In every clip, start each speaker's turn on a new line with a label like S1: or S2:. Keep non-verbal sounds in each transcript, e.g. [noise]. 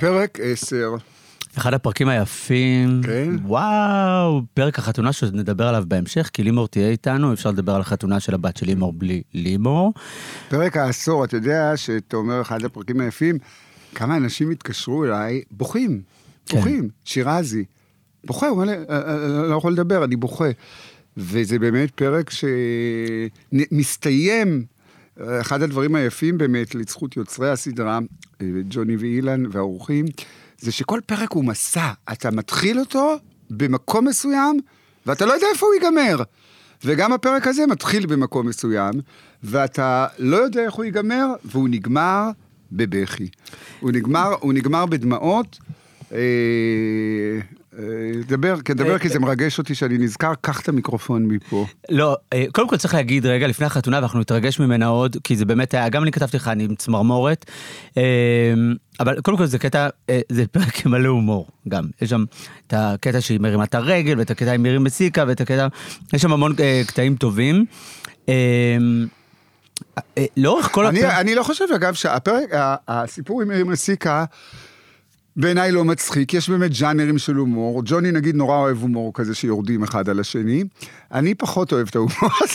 S1: פרק 10.
S2: אחד הפרקים היפים.
S1: כן.
S2: וואו, פרק החתונה שנדבר עליו בהמשך, כי לימור תהיה איתנו, אפשר לדבר על החתונה של הבת של לימור בלי לימור.
S1: פרק העשור, אתה יודע שאתה אומר אחד הפרקים היפים, כמה אנשים התקשרו אליי, בוכים,
S2: כן.
S1: בוכים, שירזי, בוכה, הוא אומר לי, "אה, אה, לא יכול לדבר, אני בוכה. וזה באמת פרק שמסתיים, אה, אחד הדברים היפים באמת לזכות יוצרי הסדרה, אה, ג'וני ואילן והאורחים, זה שכל פרק הוא מסע, אתה מתחיל אותו במקום מסוים, ואתה לא יודע איפה הוא ייגמר. וגם הפרק הזה מתחיל במקום מסוים, ואתה לא יודע איך הוא ייגמר, והוא נגמר בבכי. הוא נגמר, הוא נגמר בדמעות. אה, אה, דבר, כן, דבר, כי זה מרגש אותי שאני נזכר, קח את המיקרופון מפה.
S2: לא, אה, קודם כל צריך להגיד רגע לפני החתונה, ואנחנו נתרגש ממנה עוד, כי זה באמת היה, גם אני כתבתי לך, אני עם צמרמורת, אה, אבל קודם כל זה קטע, אה, זה פרק מלא הומור גם. יש שם את הקטע שהיא מרימה את הרגל, ואת הקטע עם מירי מסיקה, ואת הקטע, יש שם המון אה, קטעים טובים. אה, אה, לאורך כל
S1: אני,
S2: הפרק...
S1: אני לא חושב, אגב, שהפרק, ה- הסיפור עם מירים רסיקה, בעיניי לא מצחיק, יש באמת ז'אנרים של הומור. ג'וני נגיד נורא אוהב הומור כזה שיורדים אחד על השני. אני פחות אוהב את ההומור הזה.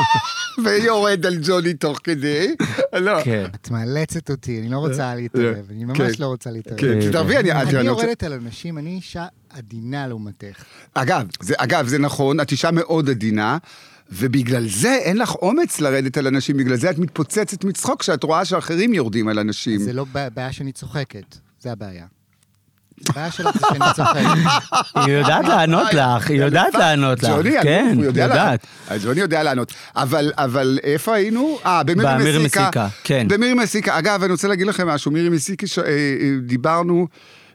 S1: [laughs] ויורד על ג'וני תוך כדי. לא.
S2: כן.
S3: את מאלצת אותי, אני לא רוצה להתערב, אני
S1: אה, כן.
S3: ממש לא רוצה להתערב.
S1: כן,
S2: אה,
S1: תערבי, אני...
S3: אני
S1: רוצה-
S3: יורדת על אנשים, אני אישה עדינה לעומתך.
S1: אגב, זה, אגב, זה נכון, את אישה מאוד עדינה, ובגלל זה אין לך אומץ לרדת על אנשים, בגלל זה את מתפוצצת מצחוק כשאת רואה שאחרים יורדים על אנשים.
S3: זה לא בע- בעיה שאני צוחקת, זה הבעיה. הבעיה שלך זה שאני צוחקת.
S2: היא יודעת
S1: [laughs]
S2: לענות
S1: אה,
S2: לך, היא יודעת לענות לך.
S1: ג'וני,
S2: כן,
S1: לא- הוא יודע לענות.
S2: יודעת.
S1: אז ג'וני יודע לענות. אבל, אבל איפה היינו? אה,
S2: במירי
S1: במירי מסיקה.
S2: מסיקה, כן.
S1: במירי מסיקה. אגב, אני רוצה להגיד לכם משהו. מירי מסיקה, ש- אה, אה, דיברנו,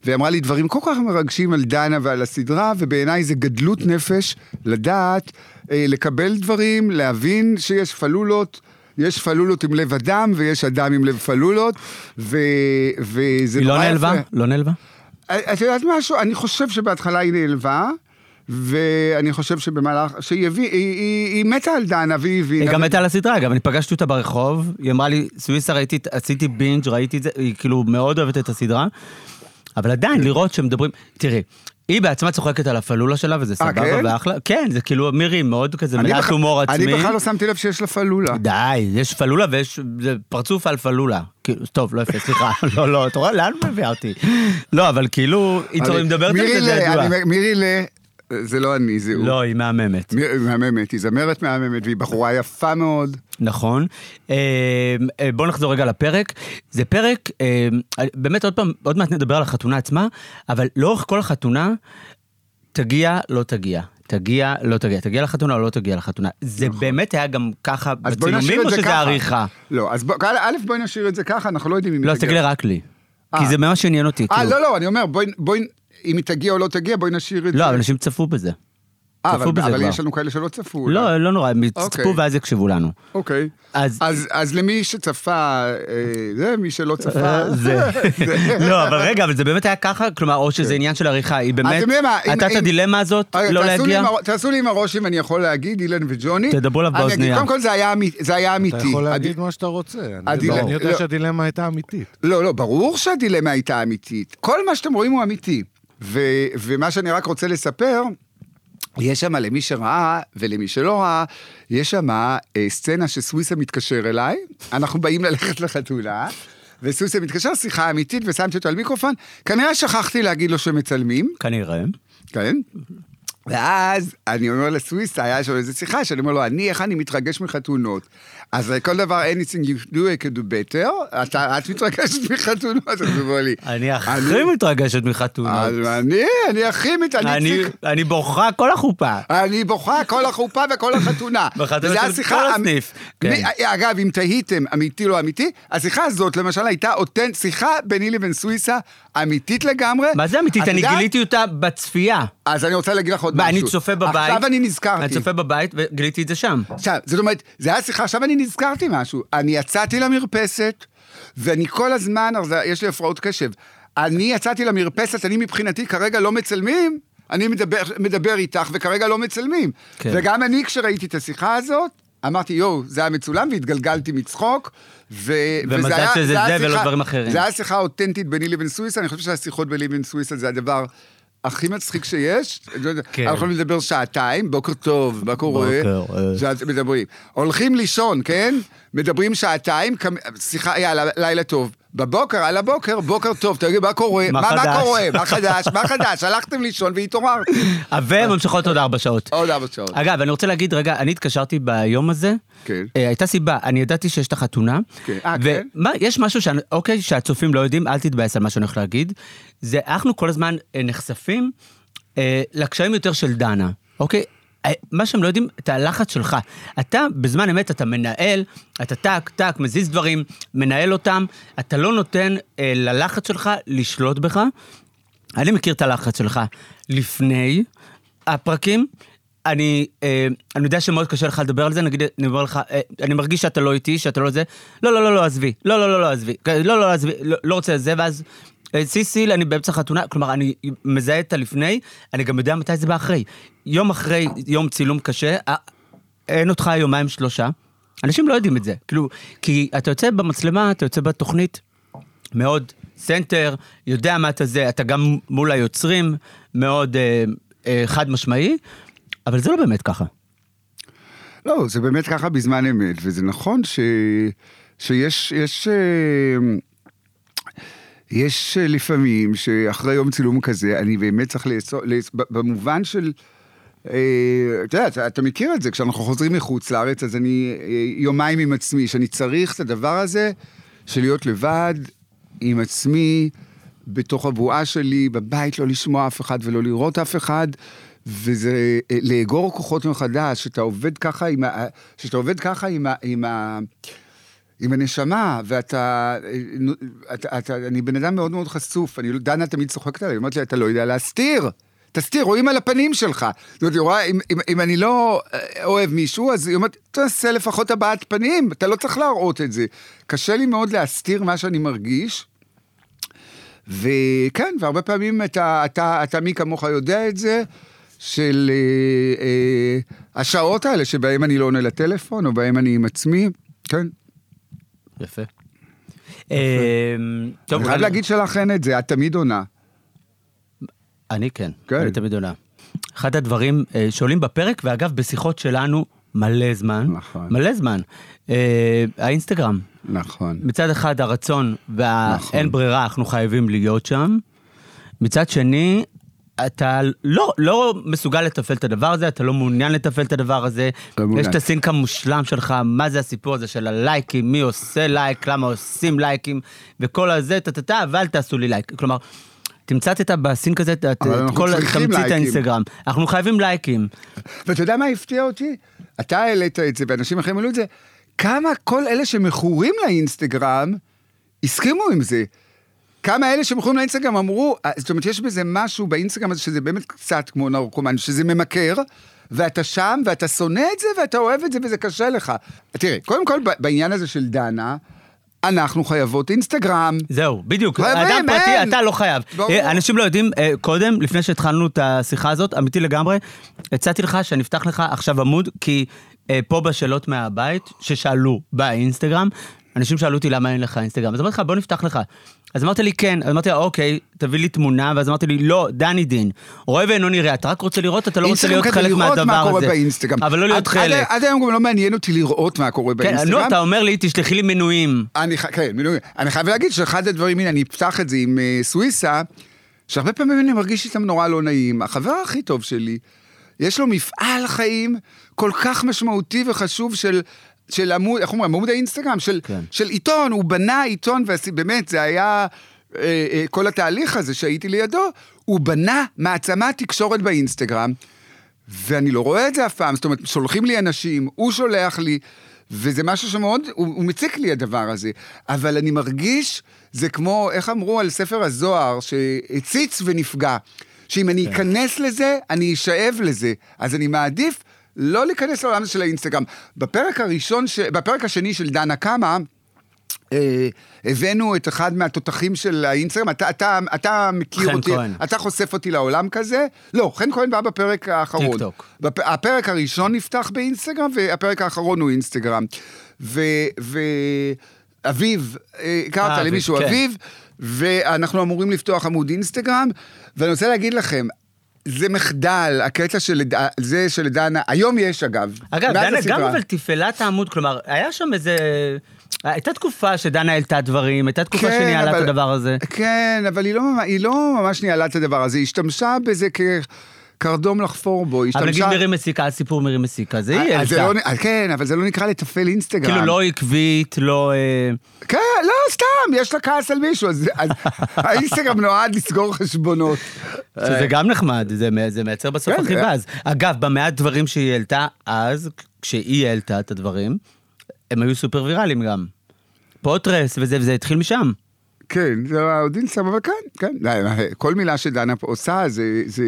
S1: והיא אמרה לי דברים כל כך מרגשים על דנה ועל הסדרה, ובעיניי זה גדלות נפש לדעת, אה, לקבל דברים, להבין שיש פלולות. יש פלולות עם לב אדם, ויש אדם עם לב פלולות, ו... וזה
S2: היא לא
S1: נורא
S2: נעלבה?
S1: יפה.
S2: לא נעלבה?
S1: את יודעת משהו? אני חושב שבהתחלה היא נעלבה, ואני חושב שבמהלך, שהיא הביאה, היא, היא, היא מתה על דנה והיא הבינה.
S2: היא גם מתה על הסדרה, אגב, אני פגשתי אותה ברחוב, היא אמרה לי, סוויסה ראיתי, את- עשיתי בינג', ראיתי את זה, היא כאילו מאוד אוהבת את הסדרה, אבל עדיין לראות שמדברים, תראי, היא בעצמה צוחקת על הפלולה שלה וזה
S1: אה,
S2: סבבה
S1: כן?
S2: ואחלה, כן, זה כאילו מירי מאוד כזה
S1: אני
S2: מלאת
S1: בכלל-
S2: הומור עצמי.
S1: אני בכלל לא שמתי לב שיש לה פלולה.
S2: די, יש פלולה ויש זה פרצוף על פלולה. כאילו, טוב, לא יפה, סליחה, [laughs] לא, לא, אתה רואה, לאן מביאה אותי? לא, אבל כאילו, היא צור-
S1: אני-
S2: היא מדברת על
S1: מירי
S2: זה, זה
S1: ל-
S2: ידוע.
S1: אני- מירי ל... זה לא אני, זה הוא.
S2: לא, היא מהממת.
S1: מיר- מהממת, היא זמרת מהממת, והיא בחורה יפה מאוד.
S2: נכון. אה, אה, בואו נחזור רגע לפרק. זה פרק, אה, באמת עוד פעם, עוד מעט נדבר על החתונה עצמה, אבל לאורך כל החתונה, תגיע, לא תגיע. תגיע, לא תגיע. תגיע לחתונה או לא תגיע לחתונה. זה באמת היה גם ככה
S1: נכון. אז בואי
S2: בצילומים
S1: נשאיר את
S2: או
S1: זה ככה.
S2: שזה עריכה?
S1: לא, אז בוא- א', א', בואי נשאיר את זה ככה, אנחנו לא יודעים אם
S2: לא,
S1: היא
S2: אז
S1: תגיע.
S2: תגידי רק לי. כי
S1: אה.
S2: זה ממש עניין אותי.
S1: אה,
S2: כאילו.
S1: לא, לא, אני אומר, בואי, בואי- אם היא תגיע או לא תגיע, בואי נשאיר את זה.
S2: לא, אבל אנשים צפו בזה.
S1: אה, אבל-
S2: צפו בזה
S1: אבל
S2: כבר.
S1: יש לנו כאלה שלא צפו. אולי.
S2: לא, לא נורא, הם
S1: אוקיי.
S2: צפו ואז יקשבו לנו.
S1: אוקיי.
S2: אז-
S1: אז, אז למי שצפה, אה, זה, מי שלא צפה, [laughs]
S2: אה, זה. [laughs] לא, אבל רגע, אבל זה באמת היה ככה? כלומר, או שזה עניין של עריכה, היא באמת...
S1: כן. אתם יודעים מה, אם-
S2: הייתה את
S1: אם-
S2: הדילמה הזאת,
S1: רגע,
S2: לא
S1: תעשו לי
S2: להגיע?
S1: עם הר- תעשו לי עם הראש אם אני יכול להגיד, אילן וג'וני.
S2: תדברו אליו
S1: אני אגיד,
S2: באוזנייה.
S1: קודם כל זה היה אמי- זה היה אמיתי.
S4: אתה יכול
S1: הד-
S4: להגיד מה שאתה רוצה. אני-
S1: הדיל-
S4: אני
S1: לא.
S4: יודע שהדילמה הייתה אמיתית.
S1: לא, לא, ברור שהדילמה הייתה אמיתית. כל מה שאתם רואים הוא אמיתי. ו, ומה שאני רק רוצה לספר, יש שם, למי שראה ולמי שלא ראה, יש שם אה, סצנה שסוויסה מתקשר אליי, אנחנו באים ללכת לחתונה, וסוויסה מתקשר, שיחה אמיתית, ושמתי אותו על מיקרופון. כנראה שכחתי להגיד לו שמצלמים,
S2: כנראה.
S1: כן? ואז אני אומר לסוויסה, היה שם איזו שיחה, שאני אומר לו, אני, איך אני מתרגש מחתונות. אז אה, כל דבר, anything you do, I can do better, אתה, את מתרגשת [laughs] מחתונות, אז הוא אומר לי.
S2: אני הכי מתרגשת
S1: אז
S2: מחתונות.
S1: אני, אני הכי מת... אה, אני...
S2: אני-
S1: צריך-
S2: אני בוכה כל החופה.
S1: אני בוכה כל החופה וכל החתונה.
S2: [laughs] בחתונה
S1: וזה
S2: של
S1: השיחה
S2: כל
S1: האמ-
S2: הסניף. כן.
S1: מי- אה, אגב, אם תהיתם אמיתי לא אמיתי, השיחה הזאת למשל הייתה אותנט, שיחה ביני לבין סוויסה אמיתית לגמרי.
S2: מה זה אמיתית?
S1: את
S2: אני
S1: יודעת?
S2: גיליתי אותה בצפייה.
S1: אז אני רוצה להגיד לך עוד
S2: מה,
S1: משהו.
S2: אני צופה בבית.
S1: עכשיו אני נזכרתי.
S2: אני צופה בבית וגיליתי את זה שם. אוקיי.
S1: עכשיו, זאת אומרת, זה היה שיחה, עכשיו אני נזכרתי משהו. אני יצאתי למרפסת, ואני כל הזמן, אז יש לי הפרעות קשב. אני יצאתי למרפסת, אני מבחינתי כרגע לא מצלמים, אני מדבר, מדבר איתך וכרגע לא מצלמים.
S2: כן.
S1: וגם אני, כשראיתי את השיחה הזאת, אמרתי, יואו, זה היה מצולם, והתגלגלתי מצחוק, ו...
S2: ומזל
S1: וזה היה-
S2: שזה
S1: היה
S2: זה ולא
S1: שיחה-
S2: דברים אחרים.
S1: זה היה שיחה אותנטית ביני לבין סוויסה, אני חושב שהשיחות ביני לבין סוויסה זה הדבר הכי מצחיק שיש. אני לא יודע,
S2: כן.
S1: אנחנו יכולים לדבר שעתיים, בוקר טוב, מה קורה?
S2: בוקר, אה.
S1: שאת- מדברים. הולכים לישון, כן? מדברים שעתיים, כמ- שיחה, יאללה, לילה טוב. בבוקר, על הבוקר, בוקר טוב, תגיד, מה קורה?
S2: מה
S1: מה,
S2: חדש?
S1: מה קורה? מה חדש? מה חדש? הלכתם לישון והתעוררתם.
S2: וממשיכות עוד ארבע שעות.
S1: עוד ארבע שעות.
S2: אגב, אני רוצה להגיד, רגע, אני התקשרתי ביום הזה.
S1: כן.
S2: אה, הייתה סיבה, אני ידעתי שיש את החתונה.
S1: כן. אה,
S2: ו-
S1: כן?
S2: מה, יש משהו שאני, אוקיי, שהצופים לא יודעים, אל תתבאס על מה שאני הולך להגיד. זה, אנחנו כל הזמן אה, נחשפים אה, לקשיים יותר של דנה, אוקיי? אה, מה שהם לא יודעים, את הלחץ שלך. אתה, בזמן אמת, אתה מנהל, אתה טק, טק, מזיז דברים, מנהל אותם, אתה לא נותן אה, ללחץ שלך לשלוט בך. אני מכיר את הלחץ שלך לפני הפרקים. אני, אה, אני יודע שמאוד קשה לך לדבר על זה, נגיד, אני אומר לך, אה, אני מרגיש שאתה לא איתי, שאתה לא זה, לא, לא, לא, לא, עזבי, לא, לא, לא, לא, עזבי, כן, לא, לא, לא, עזבי, לא, לא רוצה את זה, ואז, אה, סיסיל, אני באמצע חתונה, כלומר, אני מזהה את הלפני, אני גם יודע מתי זה בא אחרי. יום אחרי יום צילום קשה, אה, אין אותך יומיים שלושה, אנשים לא יודעים את זה, כאילו, כי אתה יוצא במצלמה, אתה יוצא בתוכנית, מאוד סנטר, יודע מה אתה זה, אתה גם מול היוצרים, מאוד אה, אה, חד משמעי, אבל זה לא באמת ככה.
S1: לא, זה באמת ככה בזמן אמת, וזה נכון ש... שיש יש, אה, יש אה, לפעמים שאחרי יום צילום כזה, אני באמת צריך לאסור, לאס... ב- במובן של... אה, אתה יודע, אתה, אתה מכיר את זה, כשאנחנו חוזרים מחוץ לארץ, אז אני אה, יומיים עם עצמי, שאני צריך את הדבר הזה של להיות לבד עם עצמי, בתוך הבועה שלי, בבית, לא לשמוע אף אחד ולא לראות אף אחד, וזה אה, לאגור כוחות מחדש, שאתה עובד ככה עם ה... שאתה עובד ככה עם ה... עם ה... עם הנשמה, ואתה, אה, אתה, אתה, אני בן אדם מאוד מאוד חשוף, אני, לא- דנה תמיד צוחקת עליי, היא אומרת לי, אתה לא יודע להסתיר, תסתיר, רואים על הפנים שלך. זאת אומרת, היא רואה, אם, אם, אם אני לא אה, אוהב מישהו, אז היא אומרת, תעשה לפחות הבעת פנים, אתה לא צריך להראות את זה. קשה לי מאוד להסתיר מה שאני מרגיש, וכן, והרבה פעמים אתה, אתה, אתה מי כמוך יודע את זה, של אה, אה, השעות האלה שבהם אני לא עונה לטלפון, או בהם אני עם עצמי, כן.
S2: יפה. אה, טוב,
S1: אני חייב
S2: אני-
S1: להגיד שלך אין את זה, את תמיד עונה.
S2: אני כן,
S1: כן.
S2: אני תמיד עונה. אחד הדברים אה, שעולים בפרק, ואגב, בשיחות שלנו מלא זמן,
S1: נכון.
S2: מלא זמן, אה, האינסטגרם.
S1: נכון.
S2: מצד אחד הרצון והאין
S1: נכון.
S2: נכון. ברירה, אנחנו חייבים להיות שם. מצד שני, אתה לא, לא מסוגל לתפעל את הדבר הזה, אתה לא מעוניין לתפעל את הדבר הזה.
S1: לא מעוניין.
S2: יש את הסינק המושלם שלך, מה זה הסיפור הזה של הלייקים, מי עושה לייק, למה עושים לייקים, וכל הזה, טה-טה-טה, אבל תעשו לי לייק. כלומר, תמצתת בסינק הזה את את
S1: אבל אנחנו
S2: כל
S1: צריכים
S2: תמצית
S1: לייקים.
S2: האינסטגרם. אנחנו חייבים לייקים.
S1: ואתה יודע מה הפתיע אותי? אתה העלית את זה, ואנשים אחרים העלו את זה. כמה כל אלה שמכורים לאינסטגרם, הסכימו עם זה. כמה אלה שמכורים לאינסטגרם אמרו, אה, זאת אומרת, יש בזה משהו באינסטגרם הזה, שזה באמת קצת כמו נרקומן, שזה ממכר, ואתה שם, ואתה שונא את זה, ואתה אוהב את זה, וזה קשה לך. תראה, קודם כל, ב- בעניין הזה של דנה, אנחנו חייבות אינסטגרם.
S2: זהו, בדיוק.
S1: חייבים,
S2: אדם פרטי,
S1: אין.
S2: אתה לא חייב.
S1: ברור.
S2: אה, אנשים לא יודעים, אה, קודם, לפני שהתחלנו את השיחה הזאת, אמיתי לגמרי, הצעתי לך שאני אפתח לך עכשיו עמוד, כי אה, פה בשאלות מהבית, ששאלו באינסטגרם, אנשים שאלו אותי למה אין לך אינסטגרם, אז אמרתי לך, בוא נפתח לך. אז אמרת לי כן, אז אמרתי לה, אוקיי, תביא לי תמונה, ואז אמרתי לי, לא, דני דין, רואה ואינו נראה, אתה רק רוצה לראות, אתה לא רוצה להיות
S1: אינסטגרם
S2: חלק
S1: כדי
S2: מהדבר הזה.
S1: לראות מה קורה באינסטגרם.
S2: אבל לא
S1: עד-
S2: להיות
S1: עד-
S2: חלק.
S1: עד היום גם לא מעניין אותי לראות מה קורה
S2: כן,
S1: באינסטגרם.
S2: נו, אתה אומר לי, תשלחי לי מנויים.
S1: אני, ח- כן, מילואים. אני חייב להגיד שאחד הדברים, הנה, אני אפתח את זה עם אה, סוויסה, שהרבה פעמים אני מרגיש איתם נורא לא נעים. החבר הכי טוב שלי, יש לו מפעל חיים כל כך משמעותי וחשוב של... של עמוד, איך אומרים, עמוד האינסטגרם, של,
S2: כן.
S1: כן. של עיתון, הוא בנה עיתון, ובאמת, זה היה אה, אה, כל התהליך הזה שהייתי לידו, הוא בנה מעצמת תקשורת באינסטגרם, ואני לא רואה את זה אף פעם, זאת אומרת, שולחים לי אנשים, הוא שולח לי, וזה משהו שמאוד, הוא, הוא מציק לי הדבר הזה, אבל אני מרגיש, זה כמו, איך אמרו על ספר הזוהר, שהציץ ונפגע, שאם אני
S2: כן.
S1: אכנס לזה, אני אשאב לזה, אז אני מעדיף לא להיכנס לעולם הזה של האינסטגרם. בפרק הראשון, ש... בפרק השני של דנה קמה, אה, הבאנו את אחד מהתותחים של האינסטגרם, אתה, אתה, אתה מכיר
S2: חן
S1: אותי,
S2: כהן.
S1: אתה חושף אותי לעולם כזה. לא, חן כהן בא בפרק האחרון.
S2: טיקטוק.
S1: בפ... הפרק הראשון נפתח באינסטגרם, והפרק האחרון הוא אינסטגרם. ו... ו... אביב, אה, הכרת
S2: אה,
S1: למישהו
S2: אביב, כן.
S1: אביב, ואנחנו אמורים לפתוח עמוד אינסטגרם, ואני רוצה להגיד לכם, זה מחדל, הקטע של לד- זה שלדנה, היום יש אגב.
S2: אגב,
S1: מאז
S2: דנה גם
S1: הסדרה.
S2: אבל תפעלה את העמוד, כלומר, היה שם איזה... הייתה תקופה שדנה העלתה דברים, הייתה תקופה שניהלה את
S1: כן, אבל-
S2: הדבר הזה.
S1: כן, אבל היא לא, ממ- היא לא ממש ניהלה את הדבר הזה, היא השתמשה בזה כקרדום לחפור בו, היא
S2: אבל נגיד
S1: השתמשה...
S2: מירי מסיקה, הסיפור מירי מסיקה, זה היא
S1: אז זה לא
S2: העלתה.
S1: נ- אז כן, אבל זה לא נקרא לתפעל אינסטגרם.
S2: אה, כאילו לא עקבית, לא... אה,
S1: כן, לא, סתם, יש לה כעס על מישהו, אז אז [laughs] האינסטגרם נועד לסגור חשבונות.
S2: שזה גם נחמד, זה, מ- זה מייצר בסוף
S1: אה, כן,
S2: החיבה. אז, אגב, במעט דברים שהיא העלתה אז, כשהיא העלתה את הדברים, הם היו סופר ויראליים גם. פוטרס וזה, וזה התחיל משם.
S1: כן, זה היה עוד אינסטגרם, אבל כן, כן. לא, כל מילה שדנה פה עושה זה... זה...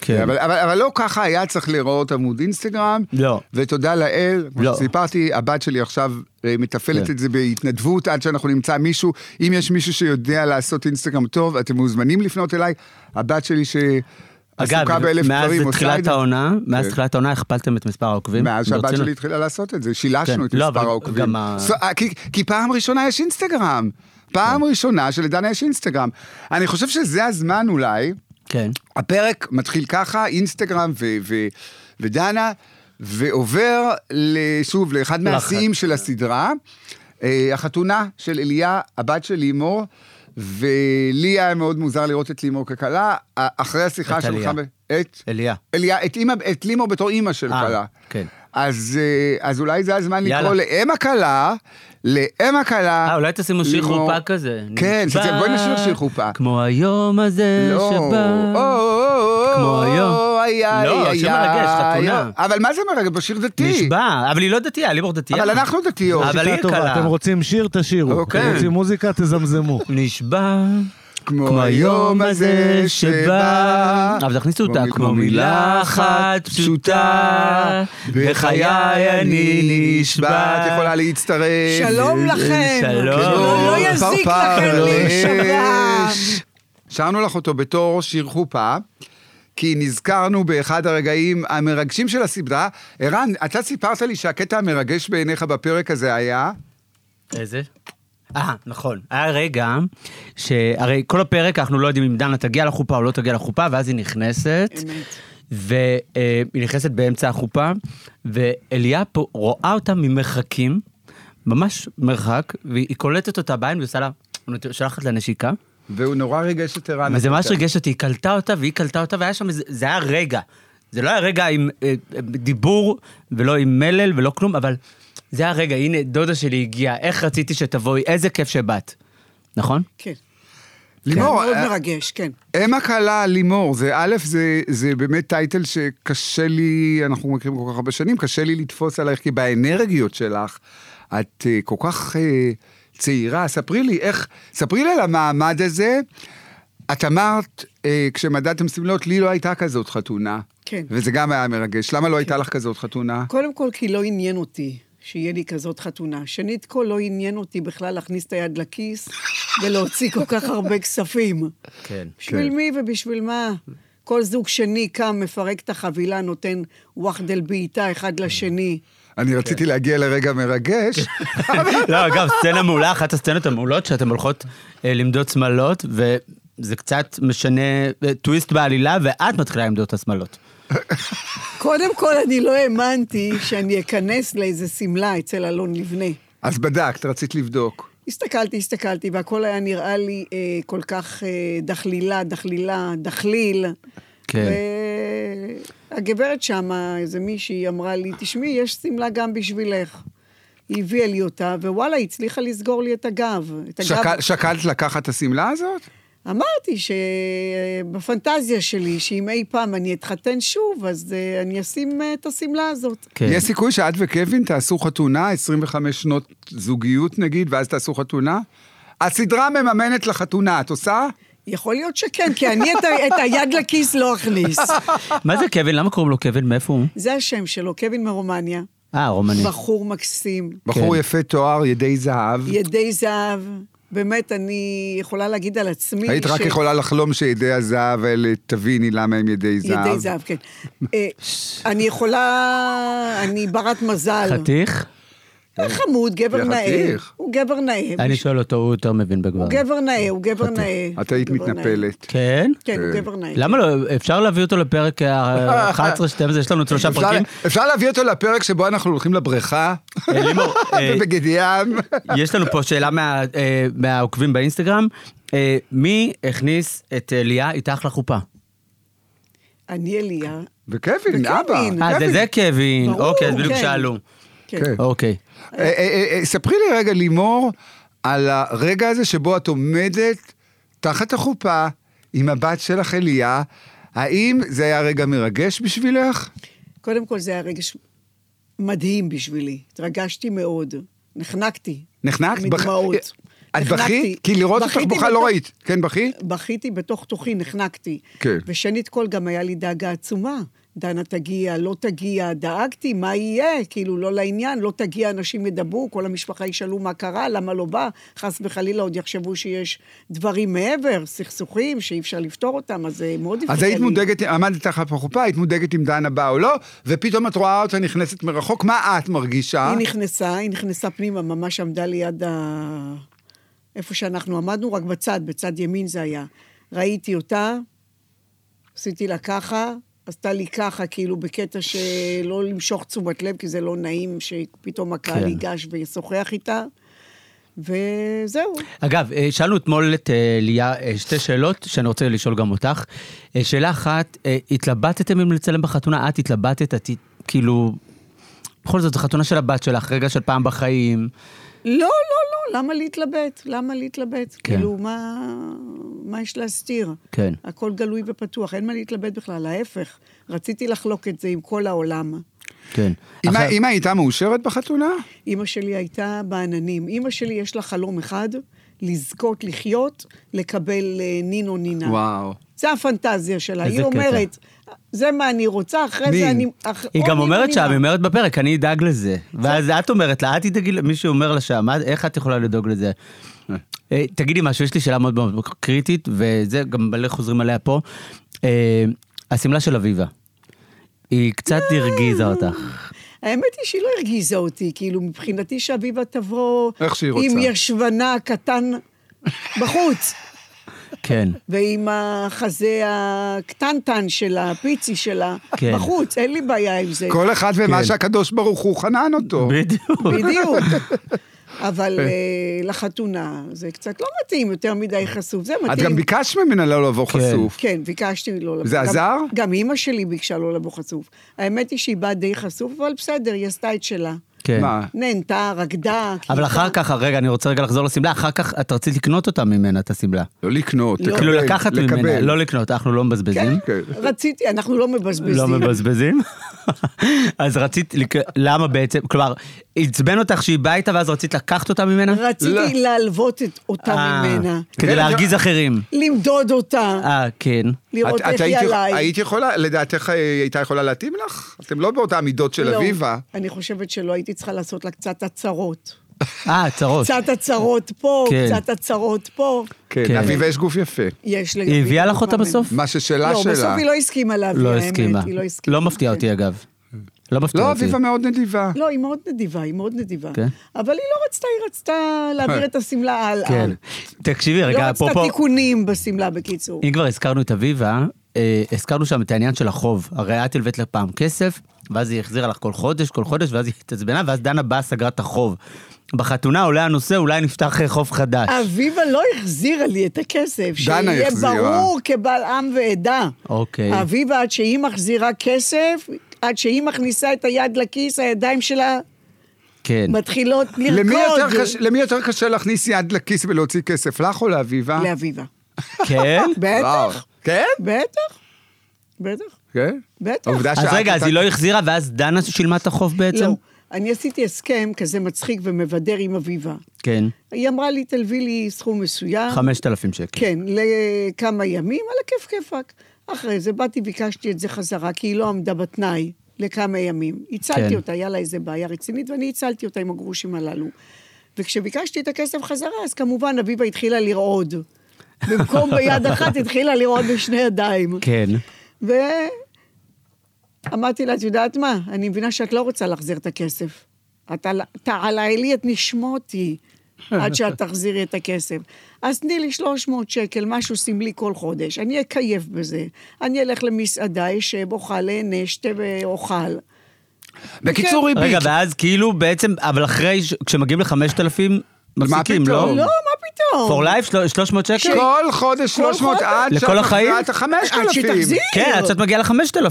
S2: כן.
S1: אבל, אבל, אבל לא ככה היה צריך להיראות עמוד אינסטגרם.
S2: לא.
S1: ותודה לאל, כמו
S2: לא.
S1: שסיפרתי, הבת שלי עכשיו אה, מתפעלת
S2: כן.
S1: את זה בהתנדבות עד שאנחנו נמצא מישהו. אם יש מישהו שיודע לעשות אינסטגרם טוב, אתם מוזמנים לפנות אליי. הבת שלי שעסוקה באלף
S2: מאז
S1: דברים, עושה את
S2: תחילת
S1: זה.
S2: העונה, מאז
S1: כן.
S2: תחילת העונה הכפלתם את מספר העוקבים.
S1: מאז שהבת
S2: כן, ברצינות.
S1: שלי התחילה לעשות את זה, שילשנו
S2: כן,
S1: את
S2: לא,
S1: מספר
S2: אבל
S1: העוקבים.
S2: גם ה-
S1: So, אה, כי- כי פעם ראשונה יש אינסטגרם.
S2: כן.
S1: פעם ראשונה שלדנה יש אינסטגרם. אני חושב שזה הזמן אולי,
S2: כן.
S1: הפרק מתחיל ככה, אינסטגרם ו- ו- ודנה, ועובר ל- שוב לאחד מהשיאים של הסדרה, אה, החתונה של אליה, הבת של לימור, ולי היה מאוד מוזר לראות את לימור ככלה, אה, אחרי השיחה
S2: את
S1: שלך...
S2: אליה.
S1: ב- את?
S2: אליה.
S1: אליה, את, אימא, את לימור בתור אימא של
S2: אה,
S1: כלה.
S2: כן.
S1: אז, אה, אז אולי זה הזמן
S2: יאללה.
S1: לקרוא לאם הכלה, לאם הכלה.
S2: אה, אולי תשימו שיר
S1: לימור.
S2: חופה כזה.
S1: כן,
S2: נשבע,
S1: שזה- בואי נשאיר שיר חופה.
S2: כמו היום הזה
S1: לא. או,
S2: שבא.
S1: או, או,
S2: כמו
S1: או,
S2: היום.
S1: או, היה,
S2: לא,
S1: היה,
S2: שיר מרגש,
S1: היה.
S2: חתונה.
S1: אבל מה זה מרגש? בשיר דתי.
S2: נשבע, אבל היא לא דתייה, לימור דתייה.
S1: אבל אנחנו דתיות.
S2: אבל היא
S4: שיטה טובה,
S2: קלה.
S4: אתם רוצים שיר, תשאירו.
S1: אוקיי.
S4: אתם רוצים מוזיקה, תזמזמו.
S1: [laughs]
S2: נשבע.
S1: כמו היום הזה שבא.
S2: אבל תכניסו אותה, כמו מילה אחת פשוטה, בחיי אני נשבע.
S1: את יכולה להצטרף.
S5: שלום
S1: אה,
S5: לכם.
S2: שלום.
S5: לא יזיק
S1: כן, פרפר
S5: לכם
S1: לא
S5: להישבע.
S1: אש. שרנו לך אותו בתור שיר חופה. כי נזכרנו באחד הרגעים המרגשים של הסדרה. ערן, אתה סיפרת לי שהקטע המרגש בעיניך בפרק הזה היה...
S2: איזה? אה, נכון. היה רגע שהרי כל הפרק אנחנו לא יודעים אם דנה תגיע לחופה או לא תגיע לחופה, ואז היא נכנסת. והיא נכנסת באמצע החופה, ואליה פה רואה אותה ממרחקים, ממש מרחק, והיא קולטת אותה בעין והיא עושה לה, שולחת לה נשיקה.
S1: והוא נורא ריגש את ערן.
S2: וזה ממש
S1: הקטע.
S2: ריגש אותי, היא קלטה אותה והיא קלטה אותה, והיה שם איזה, זה היה רגע. זה לא היה רגע עם אה, אה, דיבור, ולא עם מלל ולא כלום, אבל זה היה רגע, הנה דודה שלי הגיעה, איך רציתי שתבואי, איזה כיף שבאת. נכון?
S5: כן,
S1: לימור,
S5: מאוד
S1: אה,
S5: מרגש, כן.
S1: אם הקלה לימור, זה א', זה, זה באמת טייטל שקשה לי, אנחנו מכירים כל כך הרבה שנים, קשה לי לתפוס עלייך, כי באנרגיות שלך, את אה, כל כך אה, צעירה. ספרי לי איך, ספרי לי על המעמד הזה. את אמרת, אה, כשמדדתם סמלות, לי לא הייתה כזאת חתונה.
S5: כן.
S1: וזה גם היה מרגש. למה לא הייתה לך כזאת חתונה?
S5: קודם כל, כי לא עניין אותי שיהיה לי כזאת חתונה. שנית כל, לא עניין אותי בכלל להכניס את היד לכיס ולהוציא כל כך הרבה כספים.
S2: כן.
S5: בשביל
S1: כן.
S5: מי ובשביל מה? כל זוג שני קם, מפרק את החבילה, נותן וואחדל בעיטה אחד לשני.
S1: אני רציתי להגיע לרגע מרגש, אבל
S2: [laughs] לא, אגב, סצנה מעולה, אחת הסצנות המעולות, שאתן הולכות אה, למדוד שמלות, וזה קצת משנה אה, טוויסט בעלילה, ואת מתחילה למדוד את השמלות.
S5: קודם כל, אני לא האמנתי שאני אכנס לאיזה שמלה אצל אלון לבנה.
S1: אז בדקת, רצית לבדוק.
S5: הסתכלתי, הסתכלתי, והכל היה נראה לי אה, כל כך אה, דחלילה, דחלילה, דחליל.
S2: כן.
S5: והגברת שמה, איזה מישהי, אמרה לי, תשמעי, יש שמלה גם בשבילך. היא הביאה לי אותה, ווואלה, היא הצליחה לסגור לי את הגב. את הגב.
S1: שקל, שקלת לקחת את השמלה הזאת?
S5: אמרתי שבפנטזיה שלי, שאם אי פעם אני אתחתן שוב, אז אה, אני אשים אה, את השמלה הזאת.
S2: כן.
S1: יש סיכוי שאת וקווין תעשו חתונה, 25 שנות זוגיות נגיד, ואז תעשו חתונה? הסדרה מממנת לחתונה, את עושה?
S2: כן.
S5: יכול להיות שכן, כי אני את, ה- את היד לכיס לא אכניס.
S2: מה זה קווין? למה קוראים לו קווין? מאיפה הוא?
S5: זה השם שלו, קווין מרומניה.
S2: אה, רומנית.
S5: בחור מקסים,
S1: בחור
S2: כן.
S1: יפה תואר, ידי זהב.
S5: ידי זהב. באמת, אני יכולה להגיד על עצמי...
S1: היית רק
S5: ש-
S1: יכולה לחלום שידי הזהב האלה, תביני למה הם ידי זהב.
S5: ידי זהב, כן. אה, אני יכולה... אני ברת מזל. אה,
S2: חתיך?
S5: חמוד, גבר
S1: זה
S5: נאה.
S1: חתיך.
S5: הוא גבר נאה.
S2: אני שואל אותו, הוא יותר מבין בגברים.
S5: הוא גבר נאה, הוא גבר נאה.
S1: את היית
S5: הוא גבר נאה.
S1: מתנפלת. אה,
S2: כן?
S5: כן, הוא גבר נאה.
S2: למה לא? אפשר להביא אותו לפרק ה-11-12, יש לנו עוד שלושה
S1: אפשר-
S2: פרקים.
S1: אפשר להביא אותו לפרק שבו אנחנו הולכים לבריכה,
S2: אה, לימור,
S1: [laughs]
S2: אה,
S1: בבגד ים.
S2: יש לנו פה שאלה מה- אה, מהעוקבים באינסטגרם. אה, מי הכניס את אה, ליה איתך לחופה?
S5: אני אליה.
S1: וקווין,
S5: וקווין.
S1: אבא.
S2: אה, זה- זה קווין.
S5: ברור,
S2: אוקיי, אז בדיוק
S5: כן.
S2: שאלו.
S5: כן.
S1: כן.
S2: אוקיי.
S1: אה, אה, אה, ספרי לי רגע, לימור, על הרגע הזה שבו את עומדת תחת החופה עם הבת שלך אליה. האם זה היה רגע מרגש בשבילך?
S5: קודם כל, זה היה רגש מדהים בשבילי. התרגשתי מאוד. נחנקתי.
S1: נחנקת? בח- אה,
S5: מדמעות.
S1: את
S5: נחנקתי.
S1: בכית? כי לראות אותך
S5: בכיתי
S1: בוכה לא
S5: בתוך-
S1: ראית. כן, בכי?
S5: בכיתי בתוך תוכי, נחנקתי.
S1: כן.
S5: ושנית כל, גם היה לי דאגה עצומה. דנה תגיע, לא תגיע, דאגתי, מה יהיה? כאילו, לא לעניין, לא תגיע, אנשים ידברו, כל המשפחה ישאלו מה קרה, למה לא בא, חס וחלילה עוד יחשבו שיש דברים מעבר, סכסוכים שאי אפשר לפתור אותם, אז זה מאוד הפריע
S1: אז
S5: לי.
S1: היית מודאגת, עמדת תחת החופה, היית מודאגת אם דנה באה או לא, ופתאום את רואה אותה נכנסת מרחוק, מה את מרגישה?
S5: היא נכנסה, היא נכנסה פנימה, ממש עמדה ליד ה... איפה שאנחנו עמדנו, רק בצד, בצד ימין זה היה. ראיתי אותה, עשיתי לה ככה, עשתה לי ככה, כאילו בקטע שלא למשוך תשומת לב, כי זה לא נעים שפתאום הקהל
S2: כן.
S5: ייגש וישוחח איתה, וזהו.
S2: אגב, אה, שאלנו אתמול את אה, ליה אה, שתי שאלות שאני רוצה לשאול גם אותך. אה, שאלה אחת, אה, התלבטתם אם לצלם בחתונה? את התלבטת, את כאילו... בכל זאת, זו חתונה של הבת שלך, רגע של פעם בחיים.
S5: לא, לא, לא, למה להתלבט? למה להתלבט?
S2: כן.
S5: כאילו, מה, מה יש להסתיר?
S2: כן.
S5: הכל גלוי ופתוח, אין מה להתלבט בכלל, ההפך. רציתי לחלוק את זה עם כל העולם.
S2: כן.
S1: אמא-
S2: עכשיו-
S1: אמא הייתה מאושרת בחתונה?
S5: אימא שלי הייתה בעננים. אימא שלי יש לה חלום אחד, לזכות לחיות, לקבל אה, נין או נינה.
S1: וואו.
S5: זה הפנטזיה שלה.
S2: איזה
S5: היא
S2: קטע.
S5: אומרת, זה מה אני רוצה, אחרי
S1: נין.
S5: זה אני... אח...
S2: היא
S5: או
S2: גם
S5: נין או
S2: אומרת שם,
S5: נינה."
S2: היא אומרת בפרק, אני אדאג לזה.
S1: כן.
S2: ואז את אומרת לה, את תדאגי, ל- מישהו אומר לה שם, "מה- איך את יכולה לדאוג לזה? אה, תגידי משהו, יש לי שאלה מאוד מאוד קריטית, וזה גם מלא חוזרים עליה פה. אה, השמלה של אביבה, היא קצת הרגיזה אותך.
S5: האמת היא שהיא לא הרגיזה אותי, כאילו, מבחינתי שאביבה תבוא...
S1: איך שהיא רוצה.
S5: עם ישבנה קטן בחוץ.
S2: כן.
S5: ועם החזה הקטנטן שלה, הפיצי שלה,
S2: כן.
S5: בחוץ, אין לי בעיה עם זה.
S1: כל אחד ומה
S2: כן.
S1: שהקדוש ברוך הוא חנן אותו.
S2: בדיוק.
S5: בדיוק.
S1: [laughs]
S5: אבל
S1: כן.
S5: אה, לחתונה זה קצת לא מתאים, יותר מדי חשוף. זה
S1: את
S5: מתאים.
S1: גם ביקשת ממנה לא לבוא חשוף.
S5: כן, ביקשתי לא לבוא.
S1: זה
S5: גם-
S1: עזר?
S5: גם אימא שלי ביקשה לא לבוא חשוף. האמת היא שהיא באה די חשוף, אבל בסדר, היא עשתה את שלה.
S2: כן.
S1: מה?
S5: נהנתה, רקדה.
S2: אבל
S5: כאילו-
S2: אחר כך, רגע, אני רוצה רגע לחזור לשמלה, אחר כך את רצית לקנות אותה ממנה, את השמלה.
S1: לא לקנות, לקבל.
S2: כאילו לקחת ממנה,
S1: לקבל.
S2: לא לקנות, אנחנו לא מבזבזים.
S5: [laughs]
S1: כן.
S5: רציתי, אנחנו לא מבזבזים.
S2: לא מבזבזים? [laughs] אז רצית, לק- למה בעצם, כלומר, עצבן אותך שהיא באה איתה ואז רצית לקחת אותה ממנה?
S5: רציתי
S1: לא.
S5: להלוות את- אותה
S2: אה,
S5: ממנה.
S2: כדי
S1: כן,
S2: להרגיז אחרים.
S5: למדוד אותה,
S2: אה, כן.
S1: את-
S5: לראות
S1: את
S5: איך היא
S1: היית-
S5: עליי.
S1: היית יכולה, לדעתך אה, היא הייתה יכולה להתאים לך? אתם לא באותה המידות של
S5: לא,
S1: אביבה.
S5: אני חושבת שלא הייתי צריכה לעשות לה קצת הצהרות.
S2: אה, צרות.
S5: קצת הצהרות פה,
S2: כן.
S5: קצת הצהרות פה.
S1: כן,
S2: כן.
S1: לאביבה יש גוף יפה.
S5: יש לגבי...
S2: היא הביאה
S5: גוף
S2: לך אותה
S5: מאמן.
S2: בסוף?
S1: מה ששלה
S5: לא, בסוף
S1: שלה.
S5: היא לא הסכימה להביא,
S2: לא
S5: האמת.
S2: הסכימה.
S5: היא לא הסכימה.
S2: לא מפתיע
S5: כן.
S2: אותי, אגב. לא מפתיע
S1: לא,
S2: אותי.
S1: אביבה מאוד נדיבה.
S5: לא, היא מאוד נדיבה, היא מאוד נדיבה.
S2: כן.
S5: אבל היא לא רצתה, היא רצתה להעביר את השמלה הלאה.
S2: כן. תקשיבי
S5: לא
S2: רגע,
S5: רצתה
S2: אפרופו...
S5: תיקונים בשמלה, בקיצור.
S2: אם כבר הזכרנו את אביבה, אה, הזכרנו שם את העניין של החוב. הרי את הלווית לה פעם כסף, ואז היא החזירה לך כל חודש, כל חודש, ואז היא התעצבנה, ואז דנה באה, סגרה את החוב. בחתונה עולה הנושא, אולי נפתח אה, חוב חדש.
S5: אביבה לא החזירה לי את הכסף.
S1: דנה החזירה.
S5: שיהיה ברור קבל עם ועדה.
S2: אוקיי.
S5: אביבה, עד שהיא מחזירה כסף, עד שהיא מכניסה את היד לכיס, הידיים שלה
S2: כן.
S5: מתחילות לא, לרקוד.
S1: למי יותר קשה- למי יותר קשה להכניס יד לכיס ולהוציא כסף, לך או לאביבה?
S5: לאביבה. [laughs]
S2: כן?
S1: אה? וואו.
S5: בטח,
S1: כן?
S5: בטח, בטח,
S1: כן?
S5: בטח.
S1: העובדה
S2: אז
S1: שאת
S2: רגע, אז
S1: אותה-
S2: היא לא החזירה, ואז דנה שילמה את החוב בעצם?
S5: לא, אני עשיתי הסכם כזה מצחיק ומבדר עם אביבה.
S2: כן.
S5: היא אמרה לי, תלווי לי סכום מסוים.
S2: 5,000 שקל.
S5: אה. כן, לכמה ימים, על הכיף כיפאק. אחרי זה באתי, ביקשתי את זה חזרה, כי היא לא עמדה בתנאי. לכמה ימים. הצלתי
S2: כן.
S5: כן. אותה, היה לה איזה בעיה רצינית, ואני הצלתי אותה עם הגרושים הללו. וכשביקשתי את הכסף חזרה, אז כמובן אביבה התחילה לרעוד. במקום ביד אחת, התחילה לרעוד בשני ידיים.
S2: כן.
S5: ואמרתי לה, את יודעת מה? אני מבינה שאת לא רוצה להחזיר את הכסף. את על- תעלי לי את נשמותי עד שאת תחזירי את הכסף. אז תני לי 300 שקל, משהו סמלי כל חודש. אני אקייף בזה. אני אלך למסעדה, אשב, אוכל, אהנה, אשתה ואוכל.
S1: בקיצור, ריבית.
S2: רגע, ואז כאילו בעצם, אבל אחרי, ש- כשמגיעים ל-5,000, מפסיקים,
S1: פתאום?
S2: לא?
S5: לא, מה פתאום?
S2: for life, של- 300 שקל?
S1: כל חודש 300
S5: חודש.
S1: עד
S2: לכל
S1: שאת
S2: החיים?
S1: מחזירה את החמשת
S5: עד
S1: אלפים.
S5: שתחזיר.
S2: כן, עד שאת מגיעה ל-5,000.
S5: לא עד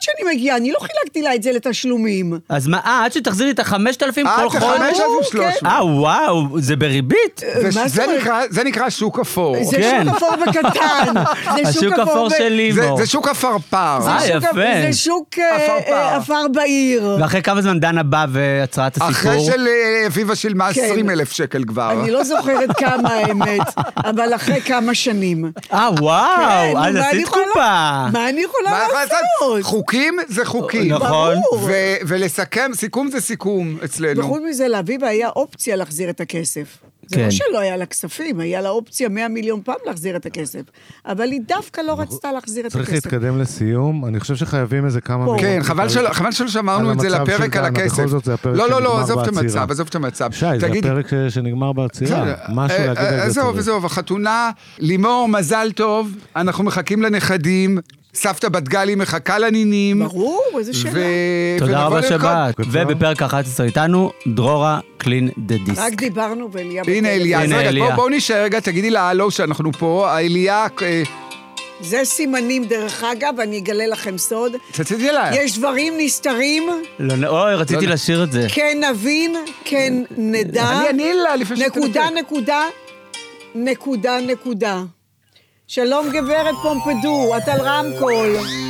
S5: שאני מגיעה, אני לא חילקתי לה את זה לתשלומים.
S2: אז מה, אה, עד שתחזירי את ה-5,000
S1: עד
S2: כל חודש?
S5: חודש?
S1: 5,300.
S2: אה, וואו, זה בריבית?
S5: מה
S1: וש-
S5: זאת
S1: זה
S5: אומרת?
S1: נקרא- זה נקרא שוק אפור.
S5: זה
S2: כן.
S5: שוק אפור וקטן. זה שוק
S2: [laughs] השוק אפור
S5: ו-
S2: של
S1: זה-
S2: לימור.
S1: זה שוק עפרפר.
S2: אה,
S5: שוק-
S2: יפה. אה.
S5: זה שוק אה,
S1: עפרפר.
S5: אה, עפר בעיר.
S2: ואחרי כמה זמן דנה באה ועצרה את הסיפור?
S1: אחרי של אה, אביבה שילמה
S5: כן.
S1: 20 אלף שקל כבר.
S5: אני לא זוכרת כמה האמת, אבל אחרי כמה שנים.
S2: אה, וואו,
S5: כן, נו,
S2: אז
S5: מה אני
S2: עשית
S5: יכולה-
S2: קופה.
S5: מה אני יכולה
S1: מה אני יכולה לעשות?
S5: לעשות?
S1: חוקים זה חוקים.
S2: נכון.
S5: ברור.
S1: ו- ולסכם, סיכום זה סיכום אצלנו.
S5: וחוץ מזה, לאביבה היה אופציה להחזיר את הכסף. זה
S2: כן.
S5: לא שלא היה לה כספים, היה לה אופציה 100 מיליון פעם להחזיר את הכסף. אבל היא דווקא לא רצתה להחזיר את
S4: צריך
S5: הכסף.
S4: להתקדם לסיום, אני חושב שחייבים איזה כמה...
S5: פה.
S4: מילים.
S1: כן, חבל שלא- חבל שלא שמרנו
S4: על
S1: את זה
S4: המצב
S1: לפרק
S4: של
S1: על
S4: דנה,
S1: הכסף.
S4: בכל זאת זה הפרק
S1: לא, לא, לא,
S4: שנגמר
S1: עזוב את
S4: בעצירה.
S1: המצב, עזוב את המצב.
S4: שי, זה
S1: תגיד,
S4: הפרק ש- שנגמר בעצירה.
S1: בסדר.
S4: משהו
S1: אה,
S4: להגיד
S1: אה,
S4: על זה.
S1: עזוב,
S4: צריך.
S1: עזוב, החתונה, לימור, מזל טוב, אנחנו מחכים לנכדים, סבתא בת גלי מחכה לנינים.
S5: ברור, איזה
S1: ו-
S5: שאלה.
S2: תודה
S1: ונבוא
S2: רבה
S1: לרקוד.
S2: שבאת.
S4: קצר.
S2: ובפרק 11 איתנו, דרורה קלין דה דיסק.
S5: רק דיברנו
S1: הנה
S5: ואליה... בטלפון.
S1: אליה, אז
S2: הנה,
S1: רגע,
S2: אליה.
S1: בואו בוא נשאר רגע, תגידי לה הלו שאנחנו פה, אליה, אה,
S5: זה סימנים, דרך אגב, אני אגלה לכם סוד.
S1: תצידי לה.
S5: יש דברים נסתרים,
S2: לא, אוי, רציתי
S1: לא.
S2: לשיר את זה.
S5: כן נבין, כן נדע.
S1: אני אענה לה לפני שאתה
S5: נקודה,
S1: מדבר.
S5: נקודה, נקודה, נקודה. שלום גברת פומפדו, את על רמקול.